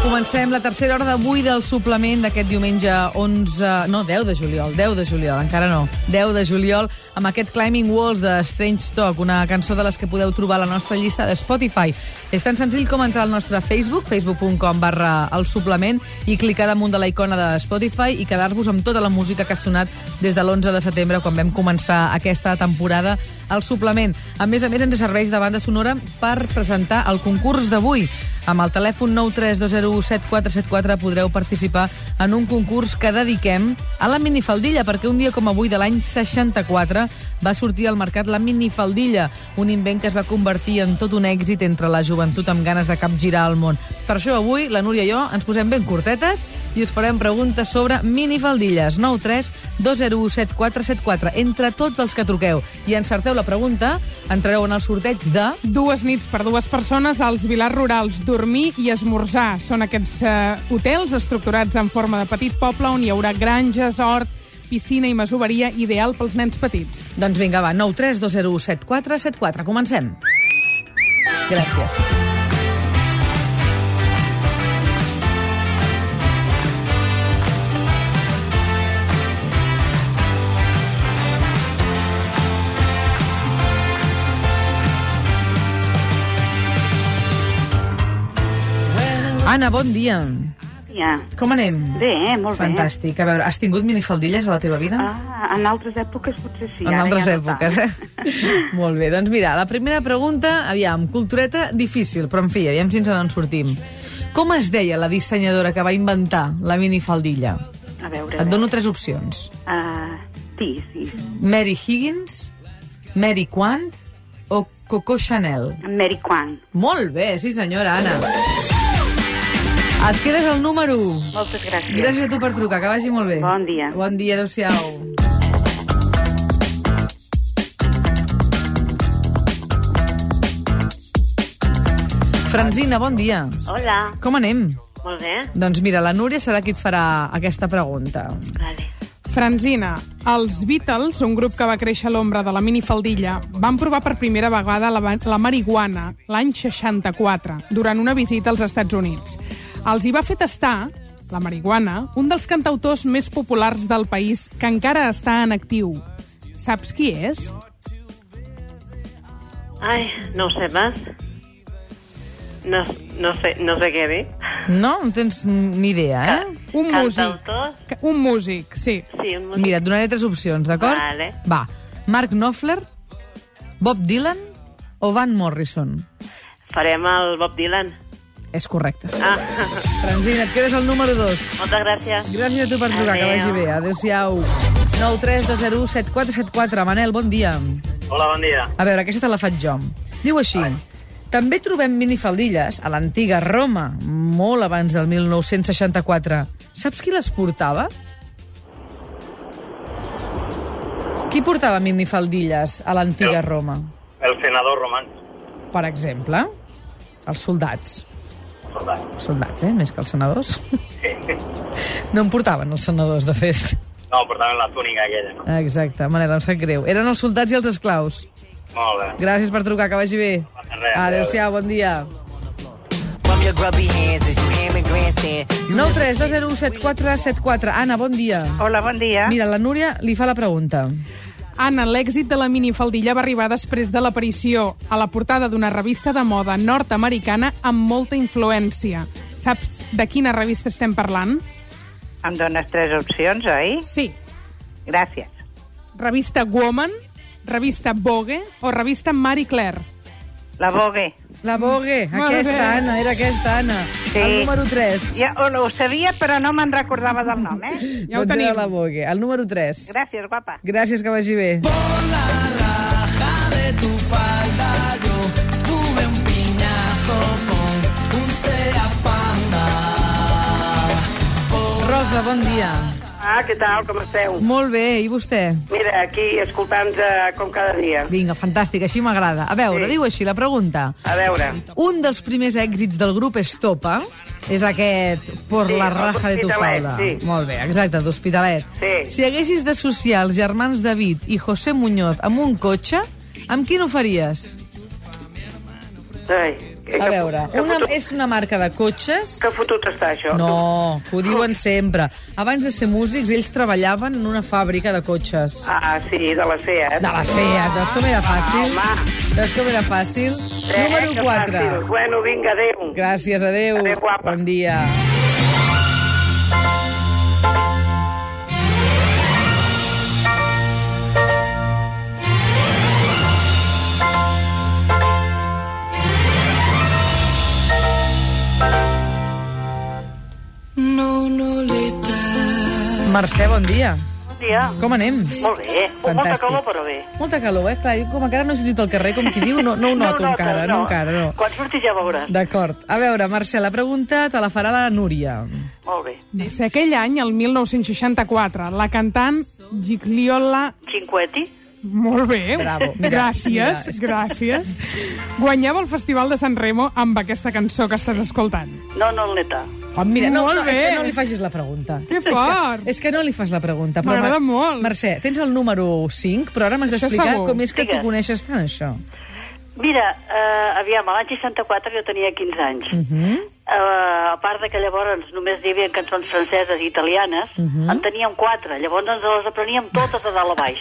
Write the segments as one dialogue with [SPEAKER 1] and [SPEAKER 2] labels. [SPEAKER 1] Comencem la tercera hora d'avui del suplement d'aquest diumenge 11... No, 10 de juliol, 10 de juliol, encara no. 10 de juliol, amb aquest Climbing Walls de Strange Talk, una cançó de les que podeu trobar a la nostra llista de Spotify. És tan senzill com entrar al nostre Facebook, facebook.com barra el suplement, i clicar damunt de la icona de Spotify i quedar-vos amb tota la música que ha sonat des de l'11 de setembre, quan vam començar aquesta temporada al suplement. A més a més, ens serveix de banda sonora per presentar el concurs d'avui. Amb el telèfon 932017474 podreu participar en un concurs que dediquem a la minifaldilla, perquè un dia com avui de l'any 64 va sortir al mercat la minifaldilla, un invent que es va convertir en tot un èxit entre la joventut amb ganes de capgirar el món. Per això avui, la Núria i jo ens posem ben cortetes i us farem preguntes sobre minifaldilles. 932017474. Entre tots els que truqueu i encerteu la pregunta, entrareu en el sorteig de...
[SPEAKER 2] Dues nits per dues persones als vilars rurals, dormir i esmorzar. Són aquests eh, hotels estructurats en forma de petit poble on hi haurà granges, hort, piscina i masoveria ideal pels nens petits.
[SPEAKER 1] Doncs vinga, va, 932017474. Comencem. Gràcies. Anna, bon dia.
[SPEAKER 3] Ja.
[SPEAKER 1] Com anem?
[SPEAKER 3] Bé, eh? molt
[SPEAKER 1] Fantàstic. A veure, has tingut minifaldilles a la teva vida?
[SPEAKER 3] bé. Ah, en altres èpoques potser sí.
[SPEAKER 1] en
[SPEAKER 3] ara
[SPEAKER 1] altres
[SPEAKER 3] ja no
[SPEAKER 1] èpoques,
[SPEAKER 3] tant.
[SPEAKER 1] eh? Molt bé, doncs mira, la primera pregunta, aviam, cultureta difícil, però en fi, aviam si ens en sortim. Com es deia la dissenyadora que va inventar la minifaldilla?
[SPEAKER 3] A veure,
[SPEAKER 1] Et dono tres opcions.
[SPEAKER 3] Uh, sí, sí.
[SPEAKER 1] Mary Higgins, Mary Quant o Coco Chanel.
[SPEAKER 3] En Mary Quan.
[SPEAKER 1] Molt bé, sí senyora, Anna. Et quedes el número 1.
[SPEAKER 3] Moltes gràcies.
[SPEAKER 1] Gràcies a tu per trucar, que vagi molt bé.
[SPEAKER 3] Bon dia.
[SPEAKER 1] Bon dia, adeu-siau. Franzina, bon dia.
[SPEAKER 4] Hola,
[SPEAKER 1] Com anem?
[SPEAKER 4] molt bé.
[SPEAKER 1] Doncs mira, la Núria serà qui et farà aquesta pregunta.
[SPEAKER 4] Vale.
[SPEAKER 2] Franzina, els Beatles, un grup que va créixer a l'ombra de la minifaldilla, van provar per primera vegada la, va- la marihuana l'any 64, durant una visita als Estats Units. Els hi va fer tastar, la marihuana, un dels cantautors més populars del país que encara està en actiu. Saps qui és?
[SPEAKER 4] Ai, no ho sé més. No, no, sé, no sé què dir.
[SPEAKER 1] No? No tens ni idea, eh?
[SPEAKER 2] Un músic.
[SPEAKER 4] Cantautors?
[SPEAKER 2] Que- Un músic, sí.
[SPEAKER 4] Sí, un músic.
[SPEAKER 1] Mira, et donaré tres opcions, d'acord?
[SPEAKER 4] Vale.
[SPEAKER 1] Va. Mark Knopfler, Bob Dylan o Van Morrison?
[SPEAKER 4] Farem el Bob Dylan.
[SPEAKER 1] És correcte.
[SPEAKER 4] Ah,
[SPEAKER 1] Franzina, et quedes el número 2.
[SPEAKER 4] moltes gràcies.
[SPEAKER 1] Gràcies a tu per trucar, que
[SPEAKER 4] Adéu.
[SPEAKER 1] vagi bé. Adéu-siau. 9 3 2 0 7 4 7 4. Manel, bon dia.
[SPEAKER 5] Hola, bon dia.
[SPEAKER 1] A veure, aquesta te la faig jo. Diu així... També trobem minifaldilles a l'antiga Roma, molt abans del 1964. Saps qui les portava? Qui portava minifaldilles a l'antiga
[SPEAKER 5] Jo.
[SPEAKER 1] Roma?
[SPEAKER 5] El senador román.
[SPEAKER 1] Per exemple, els soldats.
[SPEAKER 5] No,
[SPEAKER 1] Els soldats, eh? Més que els senadors. No en portaven els senadors, de fet.
[SPEAKER 5] portaven la túnica aquella, no?
[SPEAKER 1] Exacte, Manel, em sap greu. Eren els soldats i els esclaus.
[SPEAKER 5] Molt bé.
[SPEAKER 1] Gràcies per trucar, que vagi bé.
[SPEAKER 5] passa res.
[SPEAKER 1] Adéu-siau, bon dia.
[SPEAKER 6] From your grubby hands as you aim and grandstand.
[SPEAKER 1] 9 3 2 0 7 4 7 4. Anna, bon dia.
[SPEAKER 3] Hola, bon dia.
[SPEAKER 1] Mira, la Núria li fa la pregunta.
[SPEAKER 2] Anna, l'èxit de la minifaldilla va arribar després de l'aparició a la portada d'una revista de moda nord-americana amb molta influència. Saps de quina revista estem parlant?
[SPEAKER 3] Em dones tres opcions, oi?
[SPEAKER 2] Sí.
[SPEAKER 3] Gràcies.
[SPEAKER 2] Revista Woman, revista Vogue o revista Marie Claire?
[SPEAKER 3] La Vogue.
[SPEAKER 1] La Vogue,
[SPEAKER 2] Molt
[SPEAKER 1] aquesta,
[SPEAKER 2] bé.
[SPEAKER 1] Anna, era aquesta, Anna.
[SPEAKER 3] Sí.
[SPEAKER 1] El número 3.
[SPEAKER 3] Ja ho, ho sabia, però no me'n recordava del nom, eh?
[SPEAKER 2] Ja ho
[SPEAKER 1] doncs
[SPEAKER 2] tenim.
[SPEAKER 1] Era la Vogue, el número 3.
[SPEAKER 3] Gràcies, guapa.
[SPEAKER 1] Gràcies, que vagi bé. Rosa, bon dia.
[SPEAKER 7] Ah, què tal, com esteu?
[SPEAKER 1] Molt bé, i vostè?
[SPEAKER 7] Mira, aquí, escoltant eh, com cada dia.
[SPEAKER 1] Vinga, fantàstic, així m'agrada. A veure,
[SPEAKER 7] Sí.
[SPEAKER 1] diu així la pregunta.
[SPEAKER 7] A veure...
[SPEAKER 1] Un dels primers èxits del grup Estopa és aquest Por
[SPEAKER 7] Sí,
[SPEAKER 1] la
[SPEAKER 7] el
[SPEAKER 1] raja de tu
[SPEAKER 7] d'Hospitalet,
[SPEAKER 1] falda.
[SPEAKER 7] sí.
[SPEAKER 1] Molt bé, exacte, d'Hospitalet.
[SPEAKER 7] Sí.
[SPEAKER 1] Si haguessis d'associar els germans David i José Muñoz amb un cotxe, amb qui no faries?
[SPEAKER 7] Ai,
[SPEAKER 1] A veure,
[SPEAKER 7] que,
[SPEAKER 1] una,
[SPEAKER 7] fotut,
[SPEAKER 1] és una marca de cotxes...
[SPEAKER 7] que fotut està, això.
[SPEAKER 1] No, que ho diuen sempre. Abans de ser músics, ells treballaven en una fàbrica de cotxes.
[SPEAKER 7] Ah, sí, de la CEA. Eh? Ah,
[SPEAKER 1] De la SEAT, doncs com era fàcil. Doncs com era fàcil.
[SPEAKER 7] Eh, que
[SPEAKER 1] Número 4.
[SPEAKER 7] fàcil. Bueno, vinga, adéu.
[SPEAKER 1] Gràcies, adeu.
[SPEAKER 7] Adéu, guapa.
[SPEAKER 1] Bon dia. Mercè, bon dia.
[SPEAKER 3] Bon dia.
[SPEAKER 1] Com anem?
[SPEAKER 3] Molt bé. eh? Molta
[SPEAKER 1] Fantàstic.
[SPEAKER 3] calor, però bé.
[SPEAKER 1] Molta calor, eh? Clar, jo com encara no he sortit al carrer, com qui diu, no, no ho noto
[SPEAKER 3] notes,
[SPEAKER 1] encara, no, encara, no.
[SPEAKER 3] Quan surti ja veuràs.
[SPEAKER 1] D'acord. A veure, Mercè, la pregunta te la farà la Núria.
[SPEAKER 3] Molt bé.
[SPEAKER 2] Va ser aquell any, el 1964, la cantant Gigliola...
[SPEAKER 3] Cinqueti?
[SPEAKER 2] Molt bé.
[SPEAKER 1] Bravo, mira,
[SPEAKER 2] gràcies,
[SPEAKER 1] mira.
[SPEAKER 2] gràcies. Guanyava el Festival de San Remo amb aquesta cançó que estàs escoltant.
[SPEAKER 3] No, no, el neta.
[SPEAKER 1] Oh, mira, no,
[SPEAKER 2] Ah, Molt
[SPEAKER 1] no, és
[SPEAKER 2] bé.
[SPEAKER 1] que no li facis la pregunta.
[SPEAKER 2] Que fort!
[SPEAKER 1] És que no li fas la pregunta. però
[SPEAKER 2] M'agrada
[SPEAKER 1] Mer-
[SPEAKER 2] molt.
[SPEAKER 1] Mercè, tens el número 5, però ara m'has
[SPEAKER 2] Això
[SPEAKER 1] d'explicar
[SPEAKER 2] segur.
[SPEAKER 1] com és que tu
[SPEAKER 3] Digues.
[SPEAKER 1] coneixes tant això.
[SPEAKER 3] Mira, eh, aviam, a l'any 64 jo tenia 15 anys.
[SPEAKER 1] Uh
[SPEAKER 2] Mm-hmm.
[SPEAKER 1] -huh.
[SPEAKER 3] Eh, a part de que llavors només hi havia cançons franceses i italianes,
[SPEAKER 1] Mhm.
[SPEAKER 3] en teníem quatre. Llavors ens les apreníem totes de dalt a baix.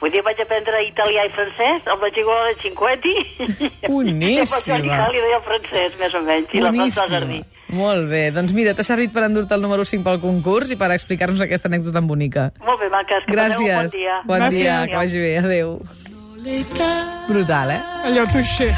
[SPEAKER 3] Vull dir, vaig aprendre italià i francès amb la gigola de Cinquetti.
[SPEAKER 1] Boníssima.
[SPEAKER 3] I per això ja li deia el francès, més o menys, i la francesa jardí.
[SPEAKER 1] Molt bé, doncs mira, t'ha servit per endur-te el número 5 pel concurs i per explicar-nos aquesta anècdota tan bonica.
[SPEAKER 3] Molt bé, maques, que passeu un
[SPEAKER 1] Gràcies.
[SPEAKER 3] bon dia.
[SPEAKER 1] Bon
[SPEAKER 2] Gràcies.
[SPEAKER 1] dia, que vagi bé, adeu. Brutal, eh?
[SPEAKER 2] Allò tuixer.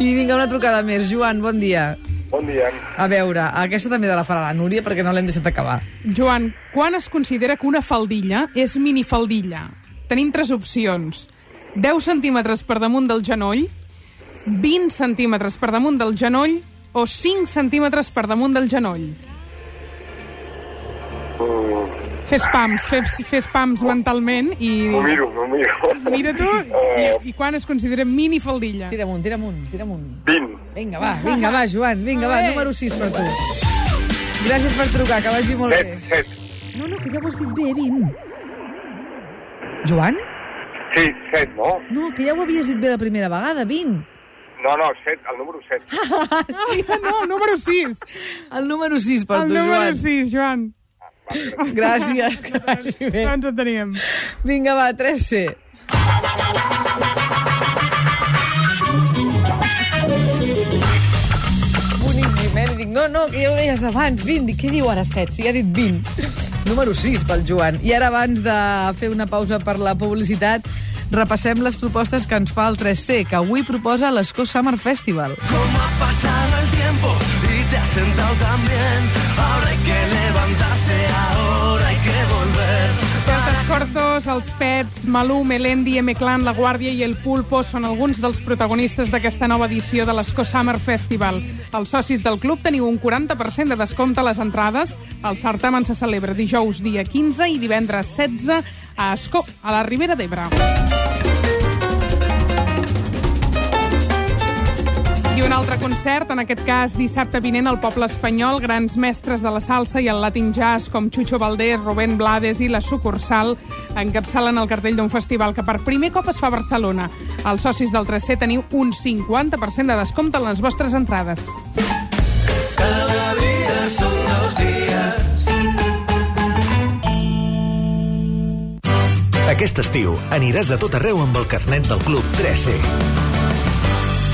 [SPEAKER 1] I vinga, una trucada més. Joan, bon dia.
[SPEAKER 8] Bon dia.
[SPEAKER 1] A veure, aquesta també de la farà la Núria perquè no l'hem deixat acabar.
[SPEAKER 2] Joan, quan es considera que una faldilla és minifaldilla? Tenim tres opcions. 10 centímetres per damunt del genoll, 20 centímetres per damunt del genoll o 5 centímetres per damunt del genoll.
[SPEAKER 8] Mm,
[SPEAKER 2] Fes pams, fes, fes pams mentalment i...
[SPEAKER 8] m'ho miro, m'ho miro.
[SPEAKER 2] Mira tu,
[SPEAKER 8] Eh,
[SPEAKER 2] i, i quan es considera minifaldilla?
[SPEAKER 1] Tira amunt, tira amunt, tira amunt.
[SPEAKER 8] 20.
[SPEAKER 1] Vinga, va, vinga, va, Joan, vinga, va, número 6 per tu. Gràcies per trucar, que vagi molt
[SPEAKER 8] 7,
[SPEAKER 1] bé.
[SPEAKER 8] 7.
[SPEAKER 1] No, no, que ja ho has dit bé, 20. Joan?
[SPEAKER 8] Sí, 7, no?
[SPEAKER 1] No, que ja ho havies dit bé la primera vegada, 20.
[SPEAKER 8] No, no, 7, el número 7.
[SPEAKER 2] Ah, Sí, no, número 6.
[SPEAKER 1] El número 6 per
[SPEAKER 2] El
[SPEAKER 1] tu,
[SPEAKER 2] número
[SPEAKER 1] Joan.
[SPEAKER 2] 6, Joan.
[SPEAKER 1] Gràcies, que vagi bé.
[SPEAKER 2] Doncs en teníem.
[SPEAKER 1] Vinga, va, 3C. Boníssim, eh? Li dic, no, no, que ja ho deies abans, 20. Dic, Què diu ara 7? Si ja ha dit 20. Número 6 pel Joan. I ara, abans de fer una pausa per la publicitat, repassem les propostes que ens fa el 3C, que avui proposa l'Escó Summer Festival.
[SPEAKER 9] ¿Cómo ha pasado el tiempo y te has sentado también? Ahora hay que levantarse, ahora hay que volver.
[SPEAKER 2] Peutas Cortos, Els Pets, Malú, Melendi, M-Clan, La Guàrdia i El Pulpo són alguns dels protagonistes d'aquesta nova edició de l'Escó Summer Festival. Els socis del club teniu un 40% de descompte a les entrades. El certamen se celebra dijous dia 15 i divendres 16 a Escó, a la Ribera d'Ebre. I un altre concert, en aquest cas dissabte vinent al poble espanyol, grans mestres de la salsa i el latin jazz com Chucho Valdés, Rubén Blades i la sucursal encapçalen el cartell d'un festival que per primer cop es fa a Barcelona. Els socis del 3C teniu un 50% de descompte en les vostres entrades.
[SPEAKER 9] Cada día son dos días.
[SPEAKER 10] Aquest estiu aniràs a tot arreu amb el carnet del Club E. 3C.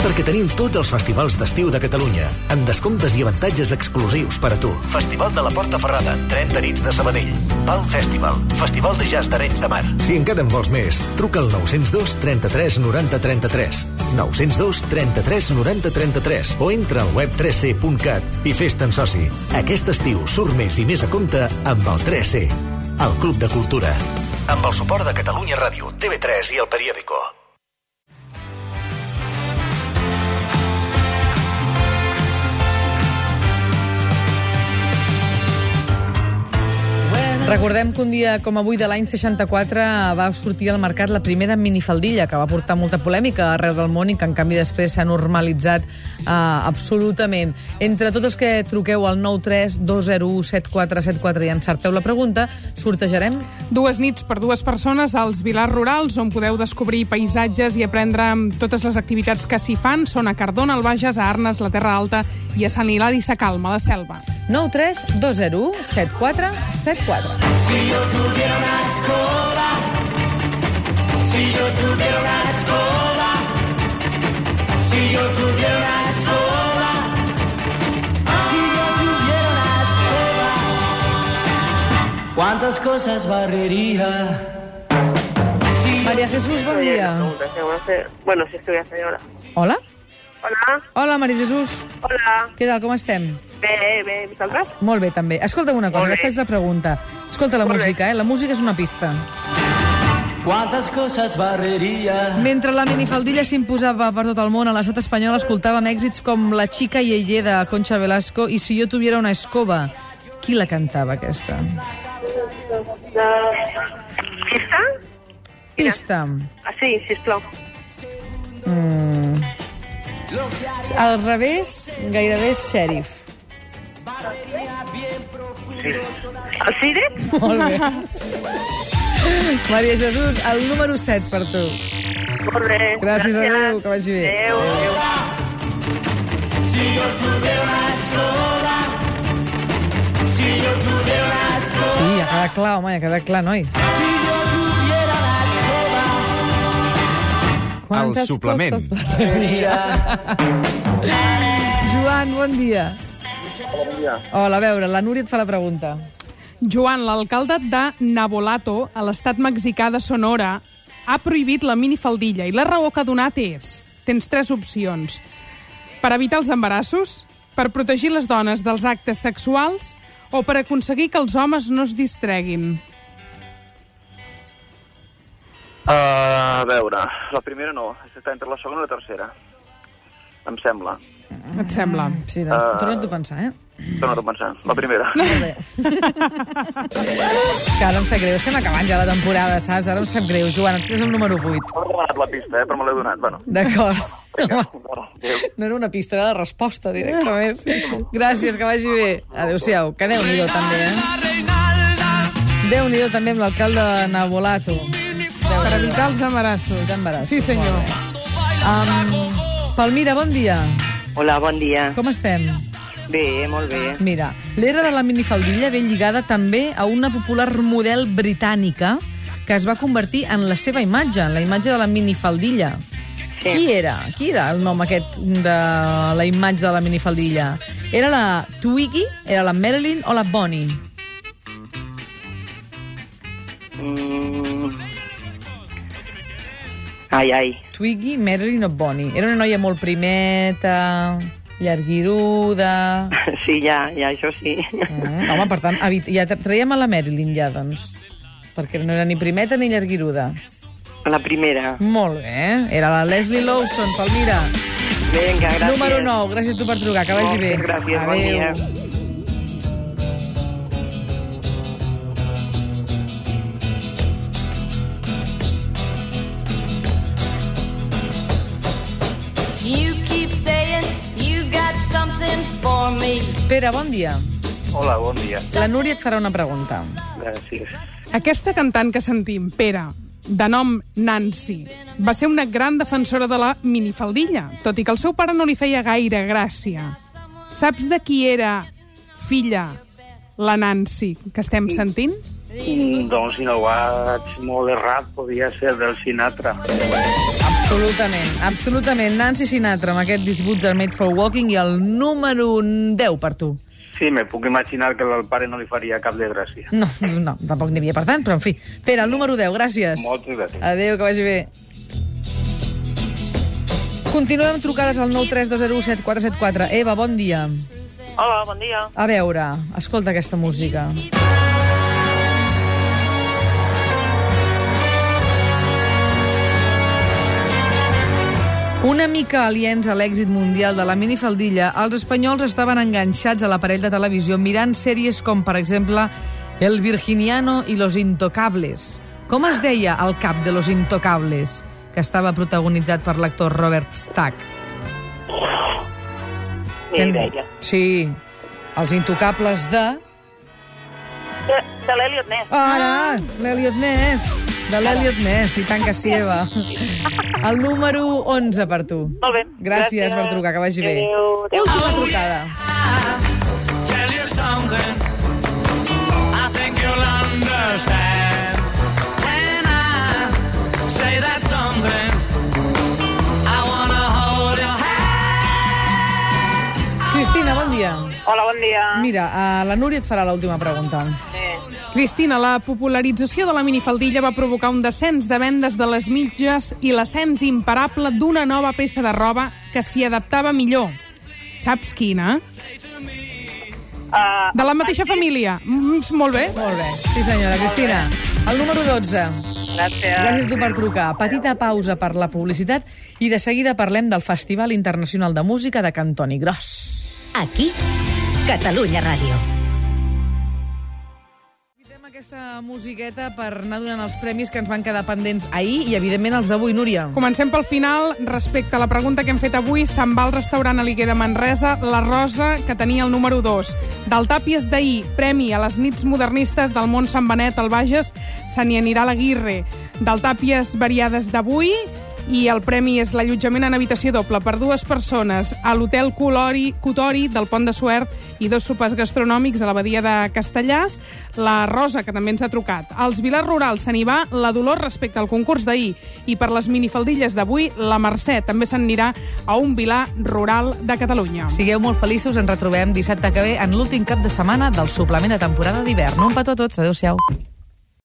[SPEAKER 10] Perquè tenim tots els festivals d'estiu de Catalunya, amb descomptes i avantatges exclusius per a tu. Festival de la Porta Ferrada, 30 nits de Sabadell, Palm Festival, Festival de Jazz d'Arenys de Mar. Si encara en vols més, truca al 902 33 90 33, 902 33 90 33 o entra al web 3c.cat i fes-te'n soci. Aquest estiu surt més i més a compte amb el 3C, el Club de Cultura. Amb el suport de Catalunya Ràdio, TV3 i El Periódico.
[SPEAKER 9] When
[SPEAKER 1] Recordem que un dia com avui de l'any 64 va sortir al mercat la primera minifaldilla, que va portar molta polèmica arreu del món i que en canvi després s'ha normalitzat eh, absolutament. Entre tots els que truqueu al 932017474 i encerteu la pregunta, sortejarem
[SPEAKER 2] Dues nits per dues persones als Vilars Rurals, on podeu descobrir paisatges i aprendre amb totes les activitats que s'hi fan. Són a Cardona, al Bages, a Arnes, la Terra Alta i a Sant Hilari Sacalm, a la Selva.
[SPEAKER 1] 932017474.
[SPEAKER 9] ¿Cuántas cosas barrería?
[SPEAKER 1] Maria Jesús, bon
[SPEAKER 7] Oye,
[SPEAKER 1] dia.
[SPEAKER 7] una pregunta, ¿qué vamos a hacer? Bueno, si es que voy a hacer ahora.
[SPEAKER 1] Hola?
[SPEAKER 7] Hola,
[SPEAKER 1] Hola, Maria Jesús.
[SPEAKER 7] hola.
[SPEAKER 1] Què tal, com estem?
[SPEAKER 7] Bé, bé, ¿me saldrás?
[SPEAKER 1] Molt bé, també. Escolta'm una cosa,
[SPEAKER 7] Molt bé.
[SPEAKER 1] ja faig la pregunta. Escolta la
[SPEAKER 7] Molt bé.
[SPEAKER 1] música, eh? La música és una pista.
[SPEAKER 9] ¿Cuántas cosas barrería?
[SPEAKER 1] Mentre la minifaldilla s'imposava per tot el món, a l'estat espanyol escoltàvem èxits com La chica yeye de Concha Velasco i Si jo tuviera una escoba. Qui la cantava, aquesta?
[SPEAKER 7] ¿Pista?
[SPEAKER 1] Pista.
[SPEAKER 7] Ah, sí, sisplau.
[SPEAKER 1] Mm. Al revés, gairebé és xèrif.
[SPEAKER 7] El Siret?
[SPEAKER 1] Molt bé. Maria Jesús, el número 7 per tu.
[SPEAKER 7] Molt bé.
[SPEAKER 1] Gràcies, adéu, que vagi bé.
[SPEAKER 7] Adéu, adéu.
[SPEAKER 1] Sí, ja queda clar, home, ja queda clar, noi. Quantes
[SPEAKER 11] El suplement.
[SPEAKER 1] costes va tenir? Joan, bon dia. Hola, a veure, la Núria et fa la pregunta.
[SPEAKER 2] Joan, l'alcalde de Nabolato, a l'estat mexicà de Sonora, ha prohibit la minifaldilla i la raó que ha donat és... Tens tres opcions. Per evitar els embarassos, per protegir les dones dels actes sexuals o per aconseguir que els homes no es distreguin.
[SPEAKER 5] Uh, a veure, la primera no, està entre la segona i la tercera. Em sembla.
[SPEAKER 2] Et sembla?
[SPEAKER 1] Sí, doncs, uh... torna't a pensar, eh?
[SPEAKER 5] Torna a pensar. La primera.
[SPEAKER 1] Que ara em sap greu, estem acabant ja la temporada, saps? Ara em sap greu, Joan, et quedes el número 8.
[SPEAKER 5] M'ha donat la pista, eh, però me l'he donat. Bueno.
[SPEAKER 1] D'acord. Home,
[SPEAKER 5] Adéu.
[SPEAKER 1] No era una pista, era la resposta directament. Gràcies, que vagi bé. Adéu-siau. Que Déu-n'hi-do també, eh? Déu-n'hi-do també amb l'alcalde de Nabolato. Per evitar els embarassos. D'embarassos. Sí, senyor. Um, Palmira, bon dia.
[SPEAKER 7] Hola, bon dia.
[SPEAKER 1] Com estem?
[SPEAKER 7] Bé, molt bé.
[SPEAKER 1] Mira, l'era de la minifaldilla ve lligada també a una popular model britànica que es va convertir en la seva imatge, en la imatge de la minifaldilla. Sí. Qui era? Qui era el nom aquest de la imatge de la minifaldilla? Era la Twiggy, era la Marilyn o la Bonnie?
[SPEAKER 7] Mm. Ai, ai.
[SPEAKER 1] Twiggy, Marilyn o Bonnie? Era una noia molt primeta, llarguiruda...
[SPEAKER 7] Sí, ja, ja, això sí.
[SPEAKER 1] Mm, home, per tant, evit... ja tra- traiem a la Marilyn ja, doncs. Perquè no era ni primeta ni llarguiruda.
[SPEAKER 7] La primera.
[SPEAKER 1] Molt bé. Era la Leslie Lawson, Palmira.
[SPEAKER 7] Vinga, gràcies.
[SPEAKER 1] Número 9. Gràcies a tu per trucar. Que vagi bé.
[SPEAKER 7] Moltes gràcies, bon dia.
[SPEAKER 9] You keep saying you got something for me.
[SPEAKER 1] Pere, bon dia.
[SPEAKER 5] Hola, bon dia.
[SPEAKER 1] La Núria et farà una pregunta.
[SPEAKER 5] Gràcies.
[SPEAKER 2] Aquesta cantant que sentim, Pere, de nom Nancy, va ser una gran defensora de la minifaldilla, tot i que el seu pare no li feia gaire gràcia. Saps de qui era filla la Nancy que estem sentint?
[SPEAKER 5] Mm, doncs si no vaig molt errat, podia ser del Sinatra.
[SPEAKER 1] Absolutament, absolutament. Nancy Sinatra amb aquest These Boots are made for walking i el número 10 per tu.
[SPEAKER 5] Sí, me puc imaginar que al pare no li faria cap de gràcia.
[SPEAKER 1] No, no, tampoc n'hi havia per tant, però en fi. Pere, el número 10, gràcies.
[SPEAKER 5] Moltes gràcies.
[SPEAKER 1] Adéu, que vagi bé. Continuem amb trucades al 932017474. Eva, bon dia.
[SPEAKER 4] Hola, bon dia.
[SPEAKER 1] A veure, escolta aquesta música. Una mica aliens a l'èxit mundial de la minifaldilla, els espanyols estaven enganxats a l'aparell de televisió mirant sèries com, per exemple, El Virginiano i los Intocables. Com es deia el cap de los Intocables, que estava protagonitzat per l'actor Robert Stack?
[SPEAKER 7] Ni idea.
[SPEAKER 1] Sí, els Intocables de...
[SPEAKER 3] De, de l'Eliot Ness.
[SPEAKER 1] Ara, l'Eliot Ness. De l'Eliot Ness, i tant que sí, Eva. El número 11 per tu.
[SPEAKER 3] Molt bé.
[SPEAKER 1] Gràcies, per trucar, que vagi bé.
[SPEAKER 3] Adéu. Adéu.
[SPEAKER 1] Última trucada.
[SPEAKER 9] Tell you something I think you'll understand When I say that something I wanna hold your
[SPEAKER 1] Cristina, bon dia.
[SPEAKER 7] Hola, bon dia.
[SPEAKER 1] Mira, eh, la Núria et farà l'última pregunta.
[SPEAKER 2] Cristina, la popularització de la minifaldilla va provocar un descens de vendes de les mitges i l'ascens imparable d'una nova peça de roba que s'hi adaptava millor. Saps quina?
[SPEAKER 7] Uh,
[SPEAKER 2] De la mateixa família. Mm, molt bé.
[SPEAKER 1] Molt bé. Sí, senyora. Cristina, el número 12.
[SPEAKER 7] gràcies.
[SPEAKER 1] Gràcies a tu per trucar. Petita pausa per la publicitat i de seguida parlem del Festival Internacional de Música de Cantoni Gros.
[SPEAKER 11] Aquí, Catalunya Ràdio.
[SPEAKER 1] Aprofitem aquesta musiqueta per anar donant els premis que ens van quedar pendents ahir i, evidentment, els d'avui, Núria.
[SPEAKER 2] Comencem pel final. Respecte a la pregunta que hem fet avui, se'n va al restaurant Aliguer de Manresa La Rosa, que tenia el número 2. Del Tàpies d'ahir, premi a les nits modernistes del món Sant Benet al Bages, se n'hi anirà la Guirre. Del Tàpies variades d'avui, i el premi és l'allotjament en habitació doble per dues persones a l'hotel Colori- Cotori del Pont de Suert i dos sopars gastronòmics a l'abadia de Castellàs. La Rosa, que també ens ha trucat. Als Vilars Rurals se n'hi va la Dolors respecte al concurs d'ahir i per les minifaldilles d'avui la Mercè també se n'anirà a un Vilar Rural de Catalunya.
[SPEAKER 1] Sigueu molt feliços, ens retrobem dissabte que ve en l'últim cap de setmana del suplement de temporada d'hivern. Un petó a tots, adeu-siau.